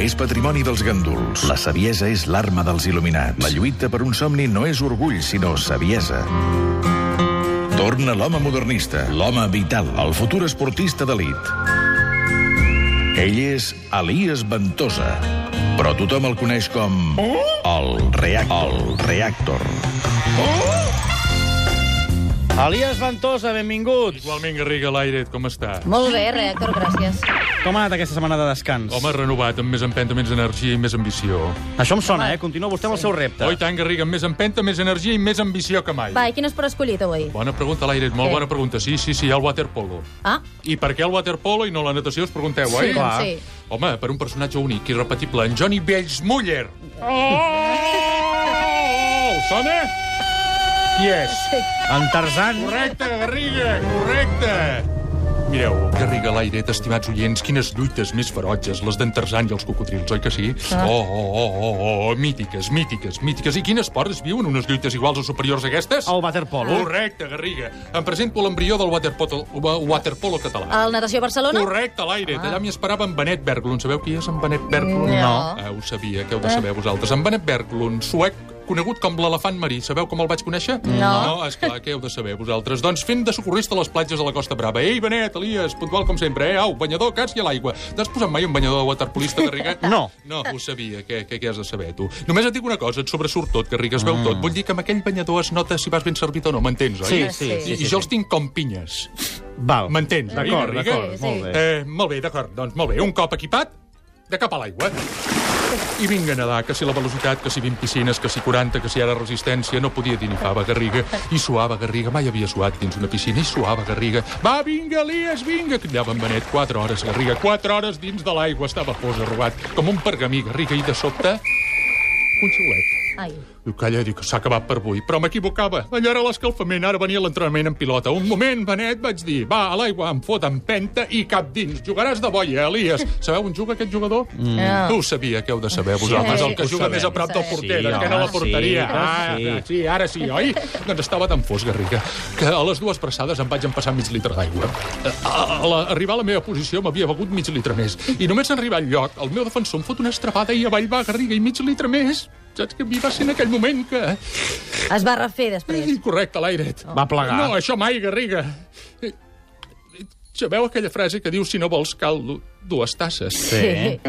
és patrimoni dels ganduls. La saviesa és l'arma dels il·luminats. La lluita per un somni no és orgull, sinó saviesa. Torna l'home modernista, l'home vital, el futur esportista d'elit. Ell és Elias Ventosa, però tothom el coneix com... El Reactor. El Reactor. Elias Ventosa, benvingut. Igualment, Garriga, l'aire, com està? Molt bé, reactor, gràcies. Com ha anat aquesta setmana de descans? Home, renovat, amb més empenta, més energia i més ambició. Això em sona, eh? Continua vostè amb el seu repte. Oh, i tant, Garriga, amb més empenta, més energia i més ambició que mai. Va, i quin esport has escollit avui? Bona pregunta, l'aire, molt Què? bona pregunta. Sí, sí, sí, el waterpolo. Ah, I per què el waterpolo i no la natació, us pregunteu, sí, oi? clar. sí. Home, per un personatge únic, irrepetible, en Johnny Bellsmuller. Oh! Eh! Sona? Yes. En Tarzan... Correcte, Garriga, correcte. Mireu, Garriga l'aire, estimats oients, quines lluites més ferotges, les d'en Tarzan i els cocodrils, oi que sí? Oh, oh, oh, oh, oh, mítiques, mítiques, mítiques. I quin esport es viuen unes lluites iguals o superiors a aquestes? El waterpolo. Correcte, Garriga. Em presento l'embrió del waterpolo, wa- waterpolo català. El Natació Barcelona? Correcte, l'aire. Allà m'hi esperava en Benet Berglund. Sabeu qui és en Benet Berglund? No. Ah, ho sabia, que ho de saber vosaltres. En Benet Berglund, suec, conegut com l'elefant marí. Sabeu com el vaig conèixer? No. No, esclar, què heu de saber vosaltres? Doncs fent de socorrista a les platges de la Costa Brava. Ei, Benet, Elias, puntual com sempre, eh? Au, banyador, cas i a l'aigua. T'has posat mai un banyador de waterpolista, Garriga? No. No, ho sabia, què, què, què has de saber, tu? Només et dic una cosa, et sobresurt tot, Garriga, es veu tot. Vull dir que amb aquell banyador es nota si vas ben servit o no, m'entens, oi? Mm. Sí, sí, Sí, sí. I, I jo els tinc com pinyes. Val. M'entens, oi, D'acord, Garriga? d'acord, Sí, sí. molt bé. Eh, molt bé, d'acord. Doncs molt bé. Un cop equipat, de cap a l'aigua. I vinga a nedar, que si la velocitat, que si 20 piscines, que si 40, que si ara resistència, no podia dir ni fava, Garriga. I suava, Garriga, mai havia suat dins una piscina, i suava, Garriga. Va, vinga, Elias, vinga, cridava en Benet. 4 hores, Garriga, 4 hores dins de l'aigua, estava fos arrugat, com un pergamí, Garriga, i de sobte, un xiulet. Ai. Diu, calla, dic, s'ha acabat per avui. Però m'equivocava. Allò era l'escalfament, ara venia l'entrenament en pilota. Un moment, Benet, vaig dir, va, a l'aigua, em fot, empenta i cap dins. Jugaràs de boia, Elias. Sabeu on juga aquest jugador? No. Tu ho sabia, que heu de saber, vosaltres, Sí, el que ho juga Eh, sabem. més a prop del Sí, porter, home, d'esquena a la sí, porteria. clar, sí. ah, sí, ara sí, oi? doncs estava tan fos, Garriga, que a les dues pressades em vaig empassar mig litre d'aigua. A, a, la, arribar a la meva posició m'havia begut mig litre més. I només en arribar al lloc, el meu defensor em fot una estrafada i avall va, Garriga, i mig litre més. Saps que a mi va ser en aquell moment que... Es va refer després. Ei, correcte, l'airet. Va plegar. No, això mai, Garriga. Eh, eh, Sabeu aquella frase que diu si no vols cal du- dues tasses? Sí.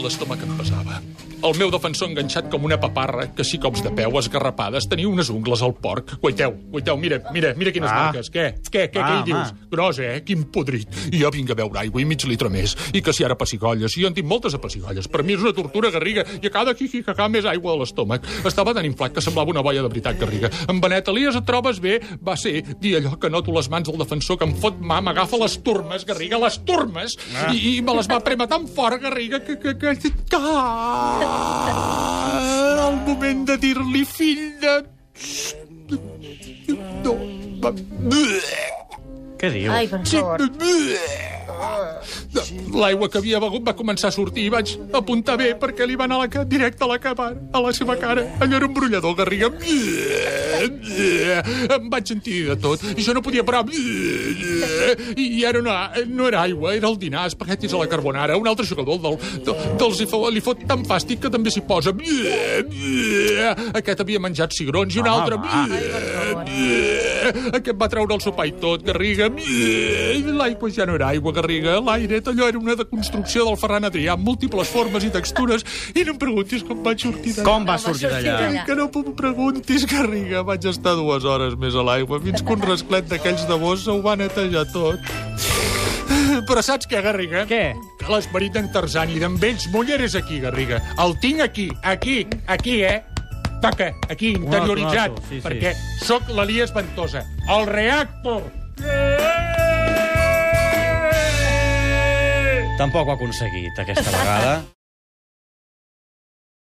L'estómac em pesava. El meu defensor enganxat com una paparra, que sí cops de peu, esgarrapades, tenia unes ungles al porc. Guaiteu, guaiteu, mira, mira, mira quines Va. marques. Què? Què, què, què Va, hi dius? home. Ah, Gros, eh? Quin podrit. I jo vinc a beure aigua i mig litre més. I que si ara pessigolles. I jo en tinc moltes a pessigolles. Per mi és una tortura, Garriga. I a cada quiquicacà més aigua a l'estómac. Estava tan inflat que semblava una boia de veritat, Garriga. En Benet, Elias, et trobes bé? Va ser dir allò que noto les mans del defensor que em fot mà, m'agafa les turmes, Garriga, les turmes. I, I me les va premar tan fort, Garriga, que... que, que, que... Ah, el moment de dir-li fill de... No, va... Què diu? Ai, per favor. L'aigua que havia begut va començar a sortir i vaig apuntar bé perquè li va anar a la ca... directe a la, capa, a la seva cara. Allò era un brollador, Garriga. Em vaig sentir de tot. I jo no podia parar. I, i ara no, no era aigua, era el dinar, espaguetis a la carbonara. Un altre jugador del, del, dels hi fo- li fot tan fàstic que també s'hi posa. Aquest havia menjat cigrons i un Home, altre... va. Ai, per favor. Eh, Aquest va treure el sopar i tot, Garriga. Eh, L'aigua ja no era aigua, Garriga. L'aire, allò era una deconstrucció del Ferran Adrià amb múltiples formes i textures. I no em preguntis com vaig sortir d'allà. Com va sortir d'allà? Que no em preguntis, Garriga. Vaig estar dues hores més a l'aigua fins que un rasclet d'aquells de bossa ho va netejar tot. Eh, Però saps què, Garriga? Què? Que l'esperit d'en Tarzan i d'en Vells Muller és aquí, Garriga. El tinc aquí, aquí, aquí, eh? Toca, aquí, interioritzat, aplauso, sí, sí. perquè sóc l'Elias Ventosa, el reactor. Tampoc ho ha aconseguit, aquesta vegada.